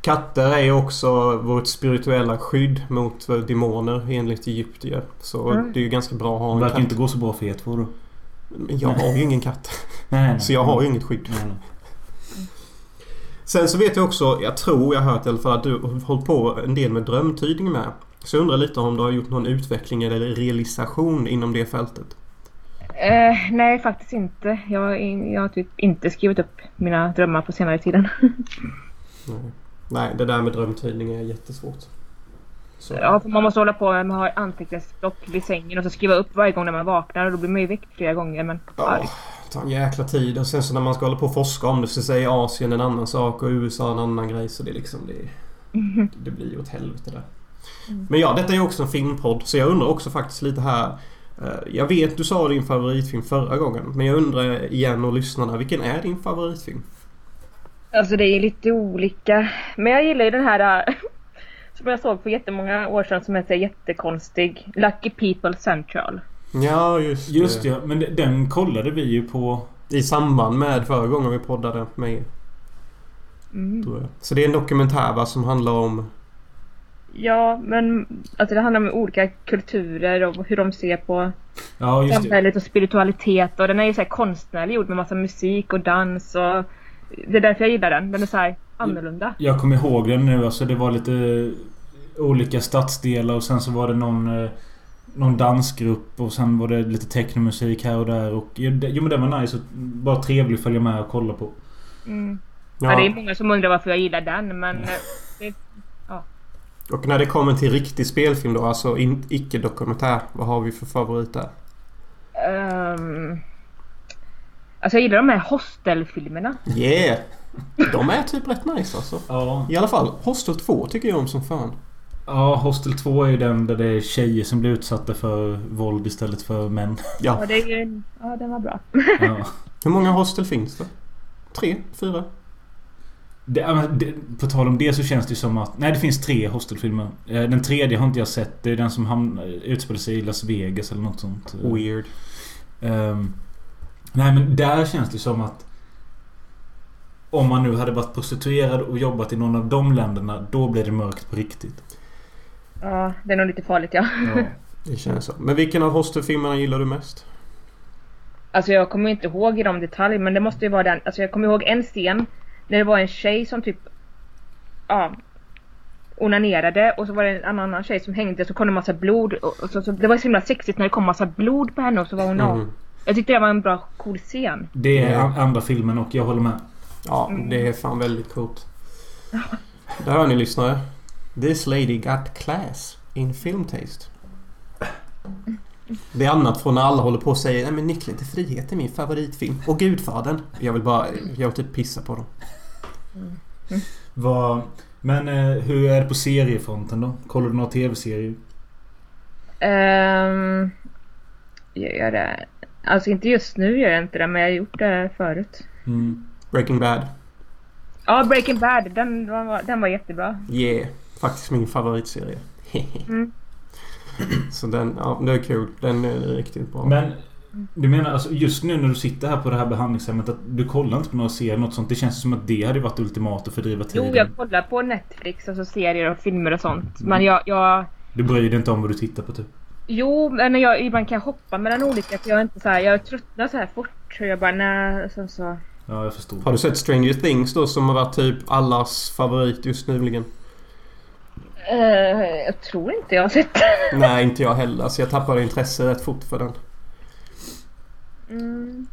Katter är ju också vårt spirituella skydd mot eh, demoner enligt egyptier. Så Mm. det är ju ganska bra att Det ha en verkar katt. inte gå så bra för er två då. Men jag har ju ingen katt. Nej, nej. Så jag har ju inget skydd. Nej, nej. Sen så vet jag också, jag tror jag har hört i alla fall att du har hållit på en del med drömtydning med. Så jag undrar lite om du har gjort någon utveckling eller realisation inom det fältet. Eh, nej, faktiskt inte. Jag, har in- jag har typ inte skrivit upp mina drömmar på senare tiden. Nej, Nej det där med drömtydning är jättesvårt. Så. Ja, för man måste hålla på med att ha anteckningsblock vid sängen och så skriva upp varje gång när man vaknar och då blir man ju väckt flera gånger. Men Ja, det tar en jäkla tid och sen så när man ska hålla på och forska om det så säger Asien en annan sak och USA en annan grej så det är liksom det, det blir ju åt helvete där. Mm. Men ja, detta är ju också en filmpodd så jag undrar också faktiskt lite här. eh, Jag vet du sa din favoritfilm förra gången men jag undrar igen och lyssnarna vilken är din favoritfilm? Alltså det är lite olika. Men jag gillar ju den här äh, som jag såg för jättemånga år sedan som heter jättekonstig. Lucky People Central. Ja just, Just det. ja, men den kollade vi ju på... I samband med förra gången vi poddade med er, Mm. Mm. tror jag. Så det är en dokumentär va, som handlar om Ja, men alltså det handlar om olika kulturer och hur de ser på Ja, just det. samhället och spiritualitet. Och den är ju så här konstnärlig gjord med massa musik och dans och det är därför jag gillar den. Den är så här annorlunda. Jag kommer ihåg den nu. Alltså det var lite eh, olika stadsdelar och sen så var det någon... eh, Någon dansgrupp och sen var det lite technomusik här och där. Och, jo det- jo, men den var nice. Och bara trevlig att följa med och kolla på. Mm. Ja. det är Ja, många som undrar varför jag gillar den men eh, det, och när det kommer till riktig spelfilm då, alltså in, icke-dokumentär. Vad har vi för favorit där? ehm, Alltså jag gillar de här hostelfilmerna. Yeah! De är typ rätt nice alltså. Ja. I alla fall, Hostel 2 tycker jag om som fan. Ja, Hostel 2 är ju den där det är tjejer som blir utsatta för våld istället för män. Ja, det är ju, ja den var bra. Ja. Hur många hostel finns det? Tre? Fyra? Det, ja, men det, på tal om det så känns det som att... Nej, det finns tre Hostelfilmer. Eh, Den tredje har inte jag sett. Det är den som hamnar, utspelar sig i Las Vegas eller något sånt. Eh, Weird. Ehm, nej, men där känns det som att... Om man nu hade varit prostituerad och jobbat i någon av de länderna, då blir det mörkt på riktigt. Ja, det är nog lite farligt ja. Ja. Det känns så. Men vilken av hostelfilmerna gillar du mest? Alltså jag kommer inte ihåg i de detalj men det måste ju vara den. Alltså jag kommer ihåg en scen när det var en tjej som typ ja, onanerade och så var det en annan, annan tjej som hängde så kom det massa blod. Och, och så, så, det var så himla sexigt när det kom massa blod på henne och så var hon av. Jag tyckte det var en bra cool scen. Det är Mm. an- andra filmen och jag håller med. Ja, det är fan väldigt coolt. Där hör ni lyssnare. This lady got class in film taste. Det är annat från när alla håller på och säger Nej men Nyckeln till frihet är min favoritfilm. Och Gudfadern. Jag vill bara, jag vill typ pissa på dem. Vad... Men eh, hur är det på seriefronten då? Kollar du några tv-serier? Ehm, jag gör det. Alltså inte just nu gör jag inte det men jag har gjort det förut. Mm. Breaking Bad. Ja Breaking Bad den var, den var jättebra. Yeah. Faktiskt min favoritserie. Mm. Så den, ja det är kul. Den är riktigt bra. Men du menar alltså just nu när du sitter här på det här behandlingshemmet att du kollar inte på några serier något sånt? Det känns som att det hade varit ultimat att fördriva Jo tiden. jag kollar på Netflix och så serier och filmer och sånt men jag, jag Du bryr dig inte om vad du tittar på typ? Jo, men jag ibland kan jag hoppa mellan olika för jag är inte så här, jag tröttnar så här fort. Och jag bara nej, sen så. Ja, jag förstår. Har du sett Stranger Things då som har varit typ allas favorit just nyligen? Eh, jag tror inte jag har sett den. Nej, inte jag heller. Så jag tappade intresse rätt fort för den. Mm.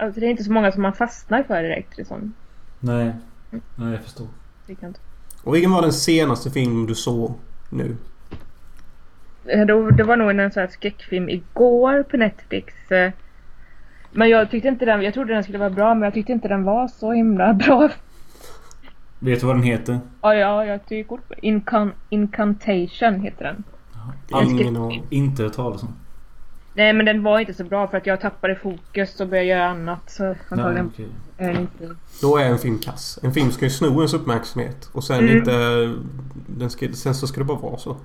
Alltså det är inte så många som man fastnar för direkt liksom. Nej. Nej, jag förstår. Det kan inte- Och vilken var den senaste film du såg nu? Eh, då- Det var nog en sån här skräckfilm igår på Netflix. eh. Men jag tyckte inte den, jag trodde den skulle vara bra men jag tyckte inte den var så himla bra. Vet du vad den heter? Ja, ja jag tycker kort på Incan- Incantation heter den. Ingen aning. Inte hört talas om. Nej men den var inte så bra för att jag tappade fokus och började göra annat så antagligen okej. är den inte Då är en film kass. En film ska ju sno ens uppmärksamhet. Och sen Mm. inte... Den ska, sen så ska det bara vara så.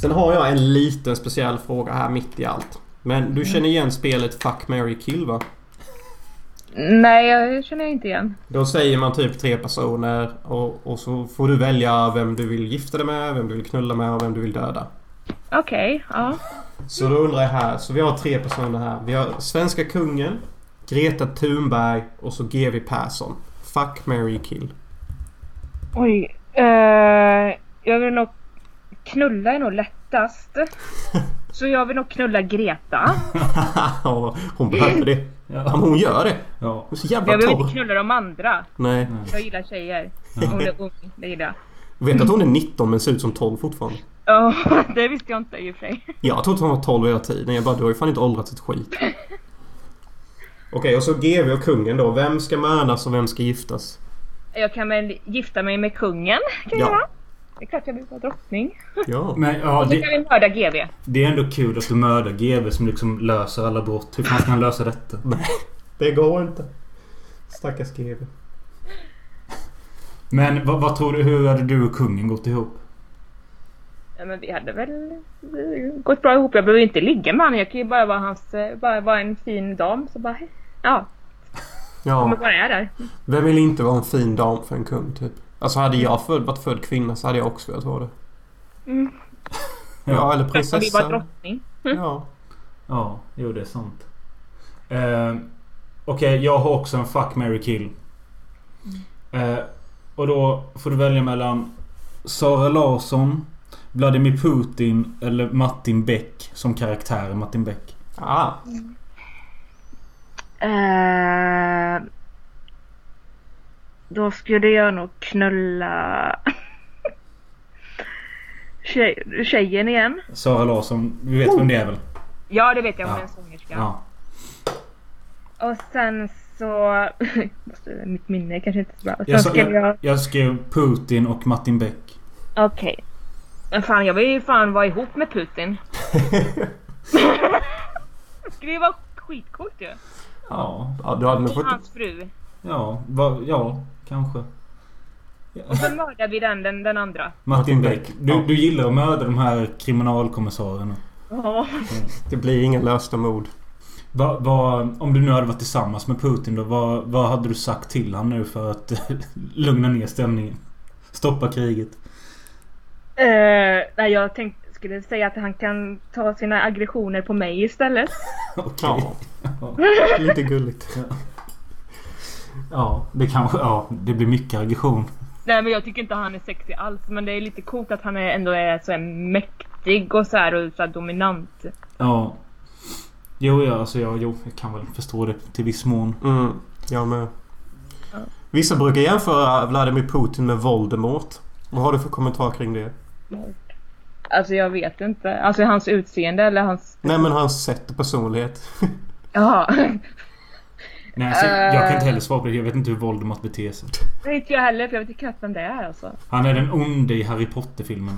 Sen har jag en liten speciell fråga här mitt i allt. Men du känner igen spelet Fuck, Mary kill va? Nej, jag känner inte igen. Då säger man typ tre personer och, och så får du välja vem du vill gifta dig med, vem du vill knulla med och vem du vill döda. Okej, ja. Så då undrar jag här, så vi har tre personer här. Vi har svenska kungen, Greta Thunberg och så GV Persson. Fuck, Mary kill. Oj. Eh, jag vill nog... Knulla är nog lättast. Så jag vill nog knulla Greta. Ja, hon behöver det. Ja, men Ja. hon gör det. ja. Hon är så Men jävla jag vill inte torr. knulla de andra. Nej. Jag gillar tjejer. Hon är ung, det gillar jag. Vet du att hon är 19 men ser ut som 12 fortfarande? Ja, det visste jag inte i och för sig. Jag trodde hon var 12 hela tiden. Jag bara, du har ju fan inte åldrats ett skit. Okej, och så GV och kungen då. Vem ska mördas och vem ska giftas? Jag kan väl gifta mig med kungen. Kan jag Ja. göra. Det är klart jag vill vara drottning. Ja. Men ja, Så kan det, vi mörda GV. det är ändå kul att du mördar GV som liksom löser alla brott. Hur fan ska han lösa detta? Det går inte. Stackars GV. Men vad, vad tror du? Hur hade du och kungen gått ihop? Ja, men vi hade väl eh, gått bra ihop. Jag behöver inte ligga med honom. Jag kan ju bara vara, hans, eh, bara vara en fin dam. Så bara, hej. ja, Ja. kommer bara är där. Vem vill inte vara en fin dam för en kung typ? Alltså hade jag född, varit född kvinna så hade jag också velat ha det. Mm. Ja, Ja. eller Jag vill vara prinsessa. drottning. Ja. Ja, jo det är sant. Eh, Okej, jag har också en fuck, Mary kill. Mm. Eh, och då får du välja mellan Sara Larsson, Vladimir Putin eller Martin Beck som karaktär. Martin Beck. Ah, Eh, då skulle jag nog knulla Tjej, tjejen igen. Sara Larsson, du vet vem det Oh, är väl? Ja, det vet jag. Hon Ja. är en sångerska. Ja. Och sen så... Måste- Mitt minne är kanske inte så bra. Och sen Jag, sa- skulle jag... jag, jag skrev Putin och Martin Beck. Okej. Men fan, jag vill ju fan vara ihop med Putin. det skulle ju vara skitcoolt ju. Ja, ja, du hade nog Och fått... hans fru. ja, va, ja kanske. Och så mördar vi den, den, den andra. Martin Martin Beck. Beck. Du, Ja. du gillar att mörda de här kriminalkommissarierna. Ja. Det blir inga lösta mord. Va, va, om du nu hade varit tillsammans med Putin då, vad vad hade du sagt till han nu för att lugna ner stämningen? Stoppa kriget? Eh, nej, jag tänkte, skulle säga att han kan ta sina aggressioner på mig istället. Okej. Ja. Lite gulligt. Ja, det kanske... Ja, det blir mycket aggression. Nej, men jag tycker inte han är sexig alls. Men det är lite coolt att han är, ändå är så här mäktig och så här, och så här dominant. Ja. Jo, ja, alltså jag, jo, jag kan väl förstå det till viss mån. Mm, jag med. Ja. Vissa brukar jämföra Vladimir Putin med Voldemort. Vad har du för kommentar kring det? Alltså jag vet inte. Alltså hans utseende eller hans... Nej men hans sätt och personlighet. Jaha. Nej, alltså, jag kan inte Eh. heller svara på det. Jag vet inte hur Voldemort beter sig. Det vet jag heller för jag vet inte knappt vem det är alltså. Han är den onde i Harry Potter-filmerna.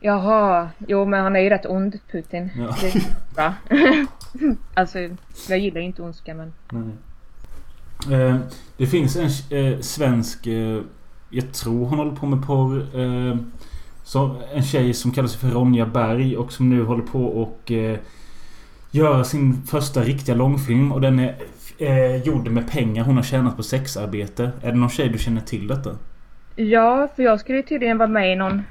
Jaha. Jo men han är ju rätt ond Putin. Ja. Det är bra. alltså jag gillar ju inte ondska men. Nej. Eh, det finns en eh, svensk... Eh, jag tror hon håller på med porr. Eh, som, en tjej som kallar sig för Ronja Berg och som nu håller på och eh, göra sin första riktiga långfilm. Och den är eh, gjord med pengar hon har tjänat på sexarbete. Är det någon tjej du känner till detta? Ja för jag skulle ju tydligen vara med i någon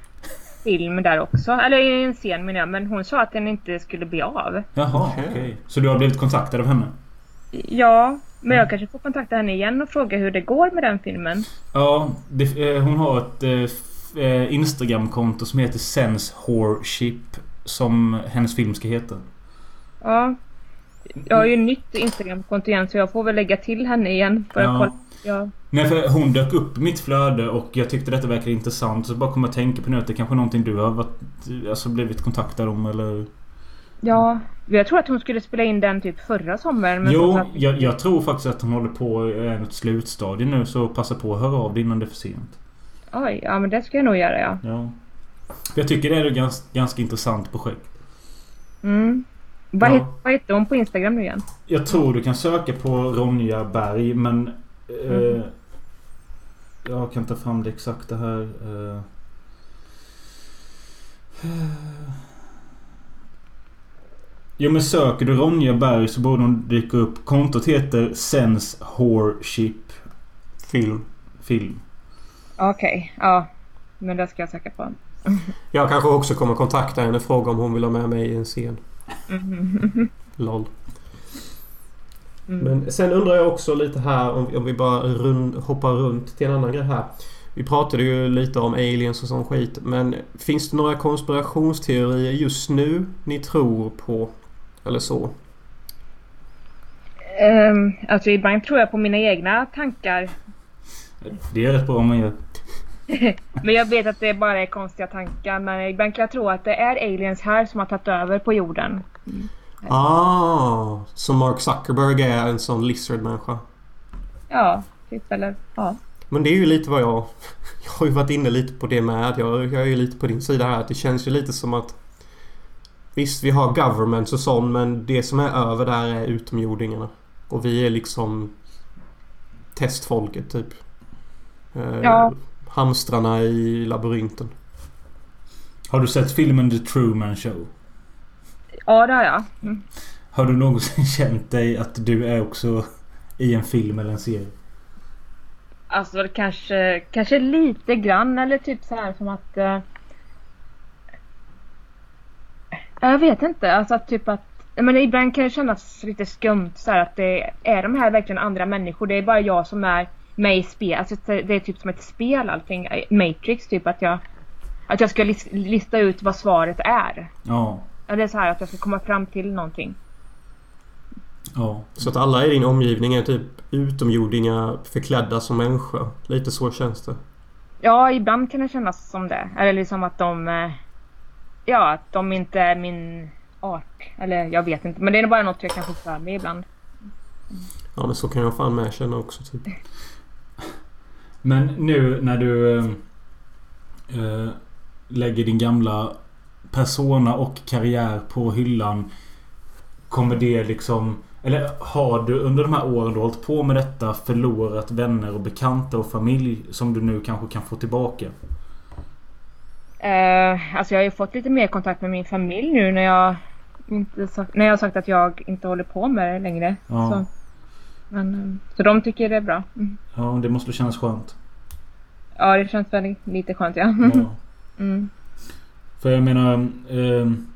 film där också. Eller i en scen menar jag. Men hon sa att den inte skulle bli av. Jaha, okej. Okej. Så du har blivit kontaktad av henne? Ja. Men Mm. jag kanske får kontakta henne igen och fråga hur det går med den filmen. Ja, det, eh, hon har ett eh, f- eh, Instagramkonto som heter Sense Horship. Som hennes film ska heta. Ja. Jag har ju Mm. nytt Instagramkonto igen så jag får väl lägga till henne igen. För Ja. att kolla. Ja. Nej för hon dök upp i mitt flöde och jag tyckte detta verkade intressant så bara kom jag att tänka på nu att det kanske är någonting du har varit, alltså blivit kontaktad om eller? Ja, jag tror att hon skulle spela in den typ förra sommaren. Men jo, så att, jag, jag tror faktiskt att hon håller på eh, något slutstadie nu så passa på att höra av dig innan det är för sent. oj, ja men det ska jag nog göra ja. Ja. För jag tycker det är ett ganska, ganska intressant projekt. Mm. Vad, Ja. het, vad heter hon på Instagram nu igen? Jag tror du kan söka på Ronja Berg men... Eh, Mhm. jag kan ta fram det exakta här. Eh. Jo men söker du Ronja Berg så borde hon dyka upp. Kontot heter Sense Horship Film. Film. Okej, ja. Men det ska jag söka på. Jag kanske också kommer kontakta henne och fråga om hon vill ha med mig i en scen. Mhm. LOL. Mm. Men sen undrar jag också lite här om, om vi bara rund, hoppar runt till en annan grej här. Vi pratade ju lite om aliens och sån skit men finns det några konspirationsteorier just nu ni tror på? Eller så? Ehm, alltså ibland tror jag på mina egna tankar. Det är rätt bra om man gör. Men jag vet att det bara är konstiga tankar. Men ibland kan jag tro att det är aliens här som har tagit över på jorden. Ah! Så Mark Zuckerberg är en sån lizardmänniska. Ja, typ eller ja. Men det är ju lite vad jag... Jag har ju varit inne lite på det med. Jag, jag är ju lite på din sida här. Att det känns ju lite som att... Visst, vi har governments och sånt men det som är över där är utomjordingarna. Och vi är liksom testfolket typ. Eh, Ja. Hamstrarna i labyrinten. Har du sett filmen The Truman Show? Ja, det har jag. Mm. Har du någonsin känt dig att du är också i en film eller en serie? Alltså kanske, kanske lite grann eller typ så här som att... Eh, jag vet inte. Alltså att typ att... Men ibland kan det kännas lite skumt så här att det är de här verkligen andra människor. Det är bara jag som är med i spel. Alltså det är typ som ett spel allting. Matrix typ att jag... Att jag ska lis- lista ut vad svaret är. Ja. Eller så här att jag ska komma fram till någonting. Ja. Så att alla i din omgivning är typ utomjordingar förklädda som människor. Lite så känns det. Ja, ibland kan det kännas som det. Eller liksom att de... eh, Ja, att de inte är min art. Eller jag vet inte. Men det är nog bara något jag kan få för mig ibland. Ja men så kan jag fan med känna också typ. Men nu när du eh, eh, lägger din gamla persona och karriär på hyllan. Kommer det liksom... Eller har du under de här åren du har hållit på med detta förlorat vänner och bekanta och familj som du nu kanske kan få tillbaka? Eh, alltså jag har ju fått lite mer kontakt med min familj nu när jag, inte sa- när jag har sagt att jag inte håller på med det längre. Ja. Så, men, eh, så de tycker det är bra. Mm. Ja, det måste kännas skönt. Ja, det känns väl lite skönt ja. Ja. Mm. För jag menar... ehm,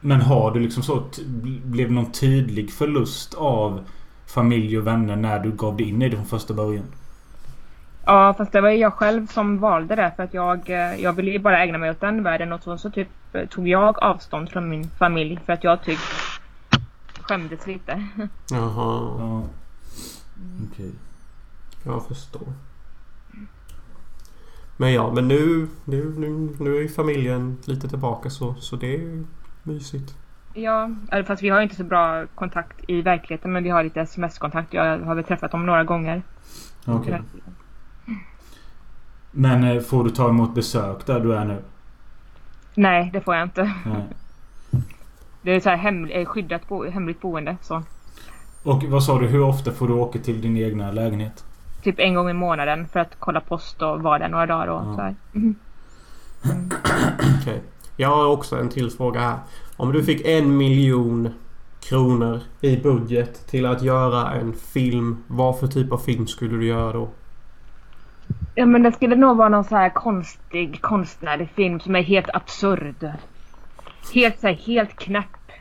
men har du liksom så... T- blev det någon tydlig förlust av familj och vänner när du gav dig in i det från första början? Ja, fast det var ju jag själv som valde det för att jag, eh, jag ville ju bara ägna mig åt den världen och så, så typ eh, tog jag avstånd från min familj för att jag typ skämdes lite. Jaha, Ja. Okej. jag förstår. Men ja, men nu, nu, nu, nu är ju familjen lite tillbaka så, så det är ju mysigt. Ja, eller fast vi har ju inte så bra kontakt i verkligheten men vi har lite sms-kontakt. Jag har väl träffat dem några gånger. Okej. Men eh, får du ta emot besök där du är nu? Eh, Nej, det får jag inte. Nej. Det är så här hem, eh, skyddat bo, hemligt boende. Så. Och vad sa du? Hur ofta får du åka till din egna lägenhet? Typ en gång i månaden för att kolla post och vara där några dagar. Och Ja. så här. Mhm. Okej. Jag har också en till fråga här. Om du fick en miljon kronor i budget till att göra en film. Vad för typ av film skulle du göra då? Ja, men det skulle nog vara någon så här konstig konstnärlig film som är helt absurd. Helt så här, helt knäpp.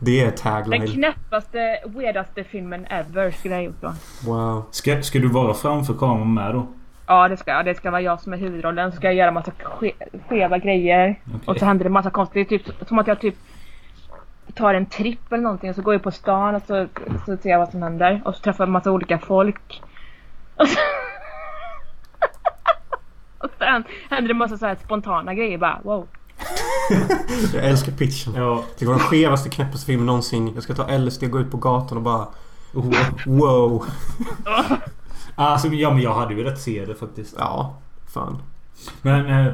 Det är Den tagline. knäppaste, weirdaste filmen ever skulle jag gjort då. Wow. Ska, ska du vara framför kameran med då? Ja, det ska jag. Det ska vara jag som är huvudrollen. Så ska jag göra massa ske- skeva grejer. Och så händer det massa konstigt. Det är typ som att jag typ tar en tripp eller någonting och så går jag på stan och så, så ser jag vad som händer. Och så träffar jag massa olika folk. Och, så... och sen händer det massa så här spontana grejer bara. Wow. Jag älskar pitchen. Ja. Det var den skevaste knäppaste filmen någonsin. Jag ska ta LSD och gå ut på gatan och bara... Wow. oh. Alltså, ja men jag hade ju velat se det faktiskt. Ja, fan. Men eh,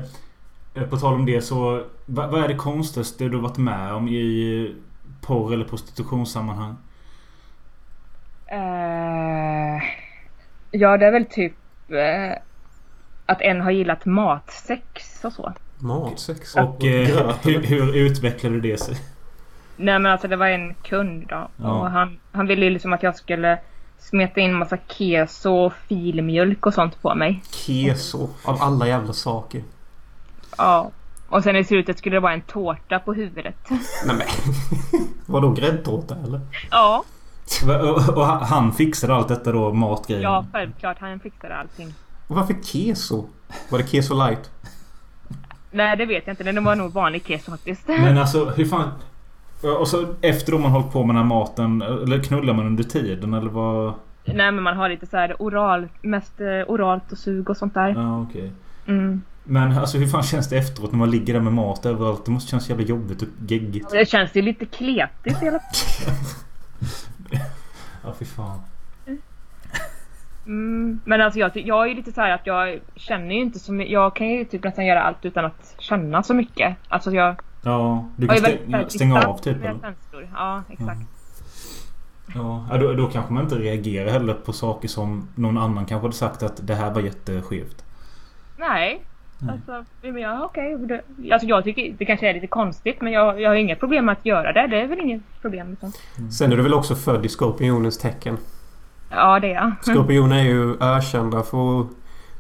eh, på tal om det så. Vad, vad är det konstigaste du varit med om i porr eller prostitutionssammanhang? Eh, ja, det är väl typ eh, att en har gillat matsex och så. Matsex. Och eh, typ hur, hur utvecklade det sig? Nej men alltså det var en kund då. Ja. Och han, han ville ju liksom att jag skulle smeta in massa keso och filmjölk och sånt på mig. Keso. Av alla jävla saker. Ja. Och sen i slutet skulle det vara en tårta på huvudet. Nej men. Vadå gräddtårta eller? Ja, Va- Och, och han- han fixade allt detta då, matgrejen? ja självklart. Han fixade allting. Och varför keso? Var det keso light? Nej det vet jag inte. Det var nog vanlig keso faktiskt. Men alltså hur fan... Och så efter då man hållit på med den här maten, eller knullar man under tiden eller vad? Nej men man har lite så här oral, mest eh, oralt och sug och sånt där. Ja okej. Mm. Men alltså hur fan känns det efteråt när man ligger där med mat överallt? Det måste kännas jävla jobbigt och geggigt. Det känns ju lite kletigt i alla fall. Ja fy fan. Mm. Men alltså jag, ty- jag är ju lite så här att jag känner ju inte så mycket. Jag kan ju typ nästan göra allt utan att känna så mycket. Alltså jag Ja, du Ja, kan jag vet stänga, inte, stänga distans av typ med eller? känslor. Ja, exakt. Ja, ja, då, då kanske man inte reagerar heller på saker som någon annan kanske hade sagt att det här var jätteskevt. Nej. Nej. Alltså, men jag, okej. Det- Alltså jag tycker det kanske är lite konstigt men jag, jag har inga problem med att göra det. Det är väl inget problem. Liksom. Sen är du väl också född i skorpionens tecken? Ja, det är jag. Skorpioner är ju ökända för att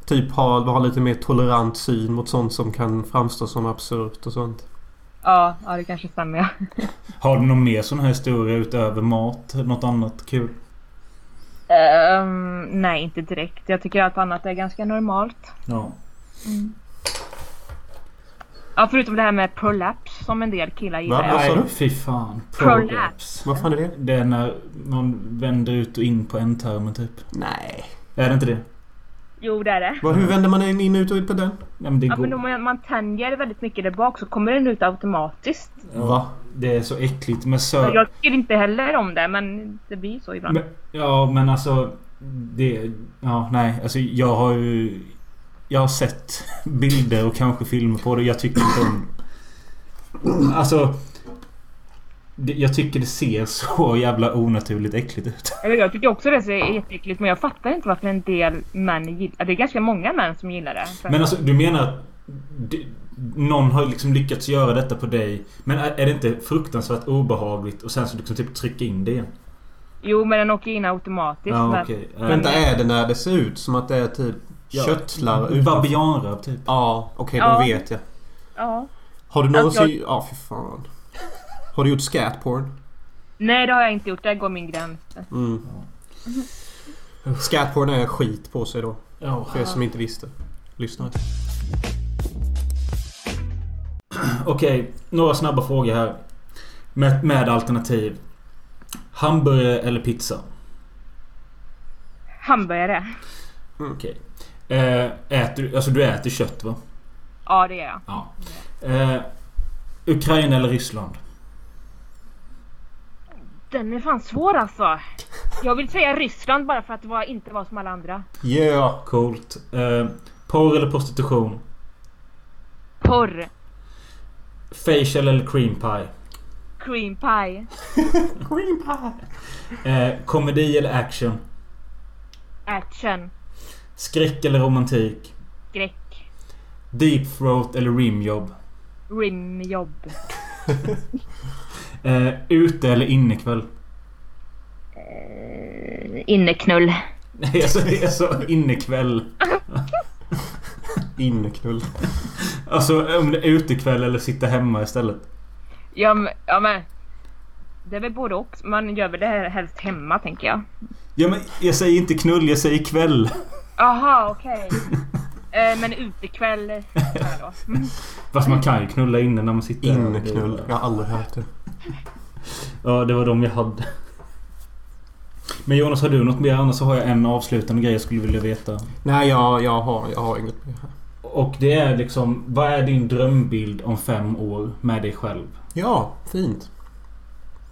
typ ha, ha lite mer tolerant syn mot sånt som kan framstå som absurt och sånt. Ja, ja det kanske stämmer. ja. Har du någon mer sån här historia utöver mat? Något annat kul? Ehm, nej, inte direkt. Jag tycker allt annat är ganska normalt. Ja. Ja, förutom det här med prolaps som en del killar gillar. Vad sa Nej, du? Alltså, fy fan. Prolapse. Vad fan är det? Det är när man vänder ut och in på en termen typ. Nej. Är det inte det? Jo, det är det. Vad, hur vänder man in, in och ut och ut på den? Nej, men det Ja, går. men om man, man tänjer väldigt mycket där bak så kommer den ut automatiskt. Ja, Va? Det är så äckligt med Men sö... Jag tycker inte heller om det, men det blir så ibland. Men, ja, men alltså... Det... Ja, nej. Alltså jag har ju... Jag har sett bilder och kanske filmer på det. Jag tycker inte om... Alltså... Det, jag tycker det ser så jävla onaturligt äckligt ut. Eller Jag tycker också det är jätteäckligt, men jag fattar inte varför en del män gillar det. Det är ganska många män som gillar det. Så- Men alltså du menar att det- någon har liksom lyckats göra detta på dig. Men är, är det inte fruktansvärt obehagligt och sen så liksom typ trycka in det igen? Jo, men den åker in automatiskt. Ja men- okej. Eh, Vänta, är det när det ser ut som att det är typ Ja. köttlar? Okay. ut? Babianröv typ. Ja, okej Ja. då vet jag. ja. Har du Alltså, någonsin... Ja, fy fan. Har du gjort scatporn? Nej, det har jag inte gjort. Där går min gräns. Mm. Scatporn är skit på sig då. För er som inte visste. Lyssna. Okej, några snabba frågor här. Med, med alternativ. Hamburgare eller pizza? Hamburgare. Okej. Eh, äter, alltså du äter kött va? Ja, det gör jag. Ja. Eh, Ukraina eller Ryssland? Den är fan svår alltså. Jag vill säga Ryssland bara för att det var, inte var som alla andra. Yeah! Coolt. Eh, porr eller prostitution? Porr. Facial eller cream pie? Cream pie. Cream pie! Eh, komedi eller action? Action. Skräck eller romantik? Skräck. Deep throat eller rimjobb? Rimjobb. Eh, ute eller innekväll? Eh, inneknull. Nej, alltså, det är så innekväll. Inneknull. Alltså om det är utekväll eller sitta hemma istället. Ja, men- ja men. Det är väl både och. Man gör väl det här helst hemma tänker jag. Ja men jag säger inte knull, jag säger kväll. Aha, okej. eh, men utekväll. här då. Mm. Fast man kan ju knulla inne när man sitter Inneknull. Jag har aldrig hört det. Ja, det var de jag hade. Men Jonas, har du något mer? Annars så har jag en avslutande grej jag skulle vilja veta. Nej, jag, jag, har, jag har inget mer här. Och det är liksom, vad är din drömbild om fem år med dig själv? Ja, fint.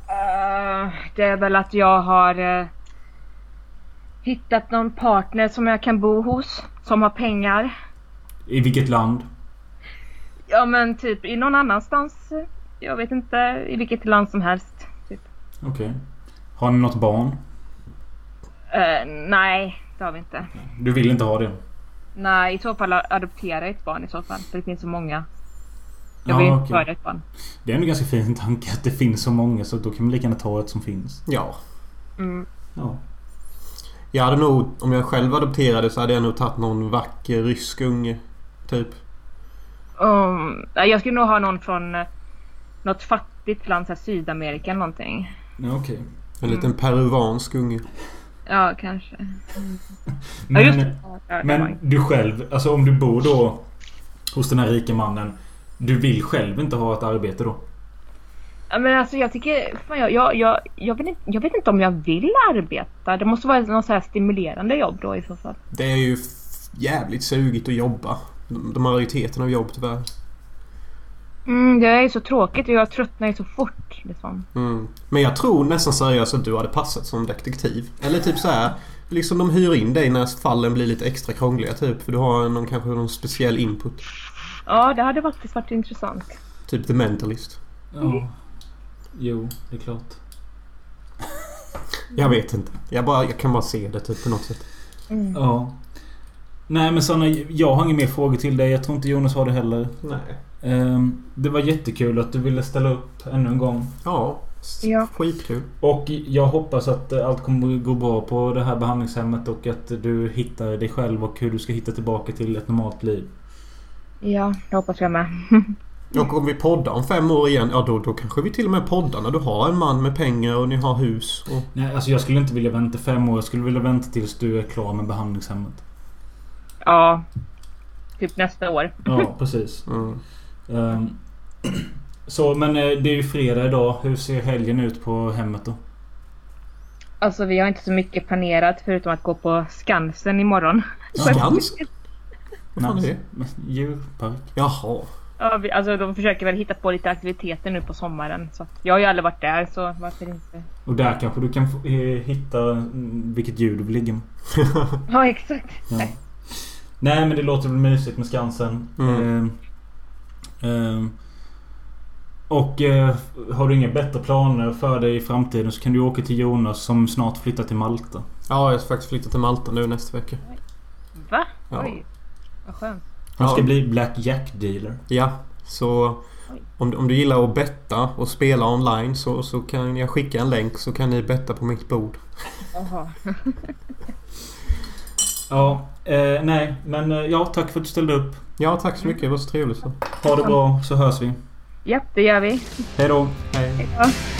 Eh, det är väl att jag har eh, hittat någon partner som jag kan bo hos. Som har pengar. I vilket land? Ja men typ i någon annanstans. eh, Jag vet inte i vilket land som helst. Typ. Okej. Har ni något barn? Eh, nej, det har vi inte. Du vill inte ha det? Nej, i så fall adoptera ett barn i så fall. För det finns så många. Jag vill Ja, inte okej. föda ett barn. Det är ändå ganska fin tanke att det finns så många så då kan man lika gärna ta ett som finns. Ja. Mm. Ja. Jag hade nog, om jag själv adopterade så hade jag nog tagit någon vacker rysk unge. Typ. Um, nej, jag skulle nog ha någon från eh, något fattigt land, så här Sydamerika eller någonting. Ja, Okej. En liten peruansk unge. Ja, kanske. Ja, just Men, det. Ja, ja, det var men ju- du själv, alltså om du bor då hos den här rika mannen. Du vill själv inte ha ett arbete då? Ja, men alltså jag tycker... Fan, jag, jag, jag, jag, vet inte, jag vet inte om jag vill arbeta. Det måste vara något så här stimulerande jobb då i så fall. Det är ju f- jävligt sugigt att jobba. De de majoriteten av jobb tyvärr. Mm, det är ju så tråkigt och jag tröttnar ju så fort. Liksom. Mm. Men jag tror nästan seriöst att du hade passat som detektiv. Eller typ så här. Liksom de hyr in dig när fallen blir lite extra krångliga typ. För du har någon, kanske någon speciell input. Ja, det hade faktiskt varit intressant. Typ The Mentalist. Mm. Ja. Jo, det är klart. Jag vet inte. Jag, bara, jag kan bara se det typ på något sätt. Mm. Ja. Nej men Sanna, jag har inga mer frågor till dig. Jag tror inte Jonas har det heller. Nej. Ehm, Det var jättekul att du ville ställa upp ännu en gång. Ja. Ja. Skitkul. Och jag hoppas att allt kommer att gå bra på det här behandlingshemmet och att du hittar dig själv och hur du ska hitta tillbaka till ett normalt liv. Ja, det hoppas jag med. Och om vi poddar om fem år igen, ja då, då kanske vi till och med poddar när du har en man med pengar och ni har hus. Och... Nej, alltså jag skulle inte vilja vänta fem år. Jag skulle vilja vänta tills du är klar med behandlingshemmet. Ja. Typ nästa år. Ja, precis. Mm. Ehm, så, men eh, det är ju fredag idag. Hur ser helgen ut på hemmet då? Alltså vi har inte så mycket planerat förutom att gå på Skansen imorgon. Skansen? Vad fan är Nice. det? Djurpark. Jaha. Ja, vi, alltså de försöker väl hitta på lite aktiviteter nu på sommaren. Så att, jag har ju aldrig varit där så varför inte? Och där kanske du kan få- eh, hitta mm, vilket djur du vill ligga med. Ja exakt. Ja. Nej men det låter väl mysigt med Skansen. Mm. Ehm, ehm, och eh, har du inga bättre planer för dig i framtiden så kan du åka till Jonas som snart flyttar till Malta. Ja, jag ska faktiskt flytta till Malta nu nästa vecka. Va? Ja. Oj. Vad skönt. Han ska Ja. bli Black Jack dealer. Ja, så Oj. om, du- om du gillar att betta och spela online så, så kan jag skicka en länk så kan ni betta på mitt bord. Jaha. Ja, eh, nej men eh, ja tack för att du ställde upp. Ja, tack så mycket. Det var så trevligt. Så. Ha det bra så hörs vi. Japp, det gör vi. Hej då. Hej. Hej då.